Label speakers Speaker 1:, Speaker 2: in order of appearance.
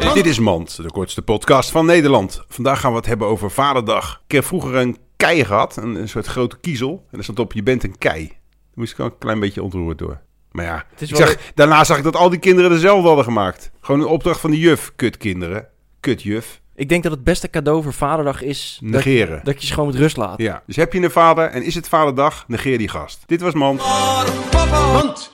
Speaker 1: Mand.
Speaker 2: Dit is Mand, de kortste podcast van Nederland. Vandaag gaan we het hebben over Vaderdag. Ik heb vroeger een kei gehad, een, een soort grote kiezel. En er stond op, je bent een kei. Daar moest ik al een klein beetje ontroerd door. Maar ja,
Speaker 1: is
Speaker 2: ik
Speaker 1: wel
Speaker 2: zag, daarna zag ik dat al die kinderen dezelfde hadden gemaakt. Gewoon een opdracht van de juf. Kut kinderen. Kut juf.
Speaker 1: Ik denk dat het beste cadeau voor Vaderdag is dat,
Speaker 2: Negeren.
Speaker 1: dat je ze gewoon met rust laat.
Speaker 2: Ja, dus heb je een vader en is het vaderdag, negeer die gast. Dit was Mand.
Speaker 3: Want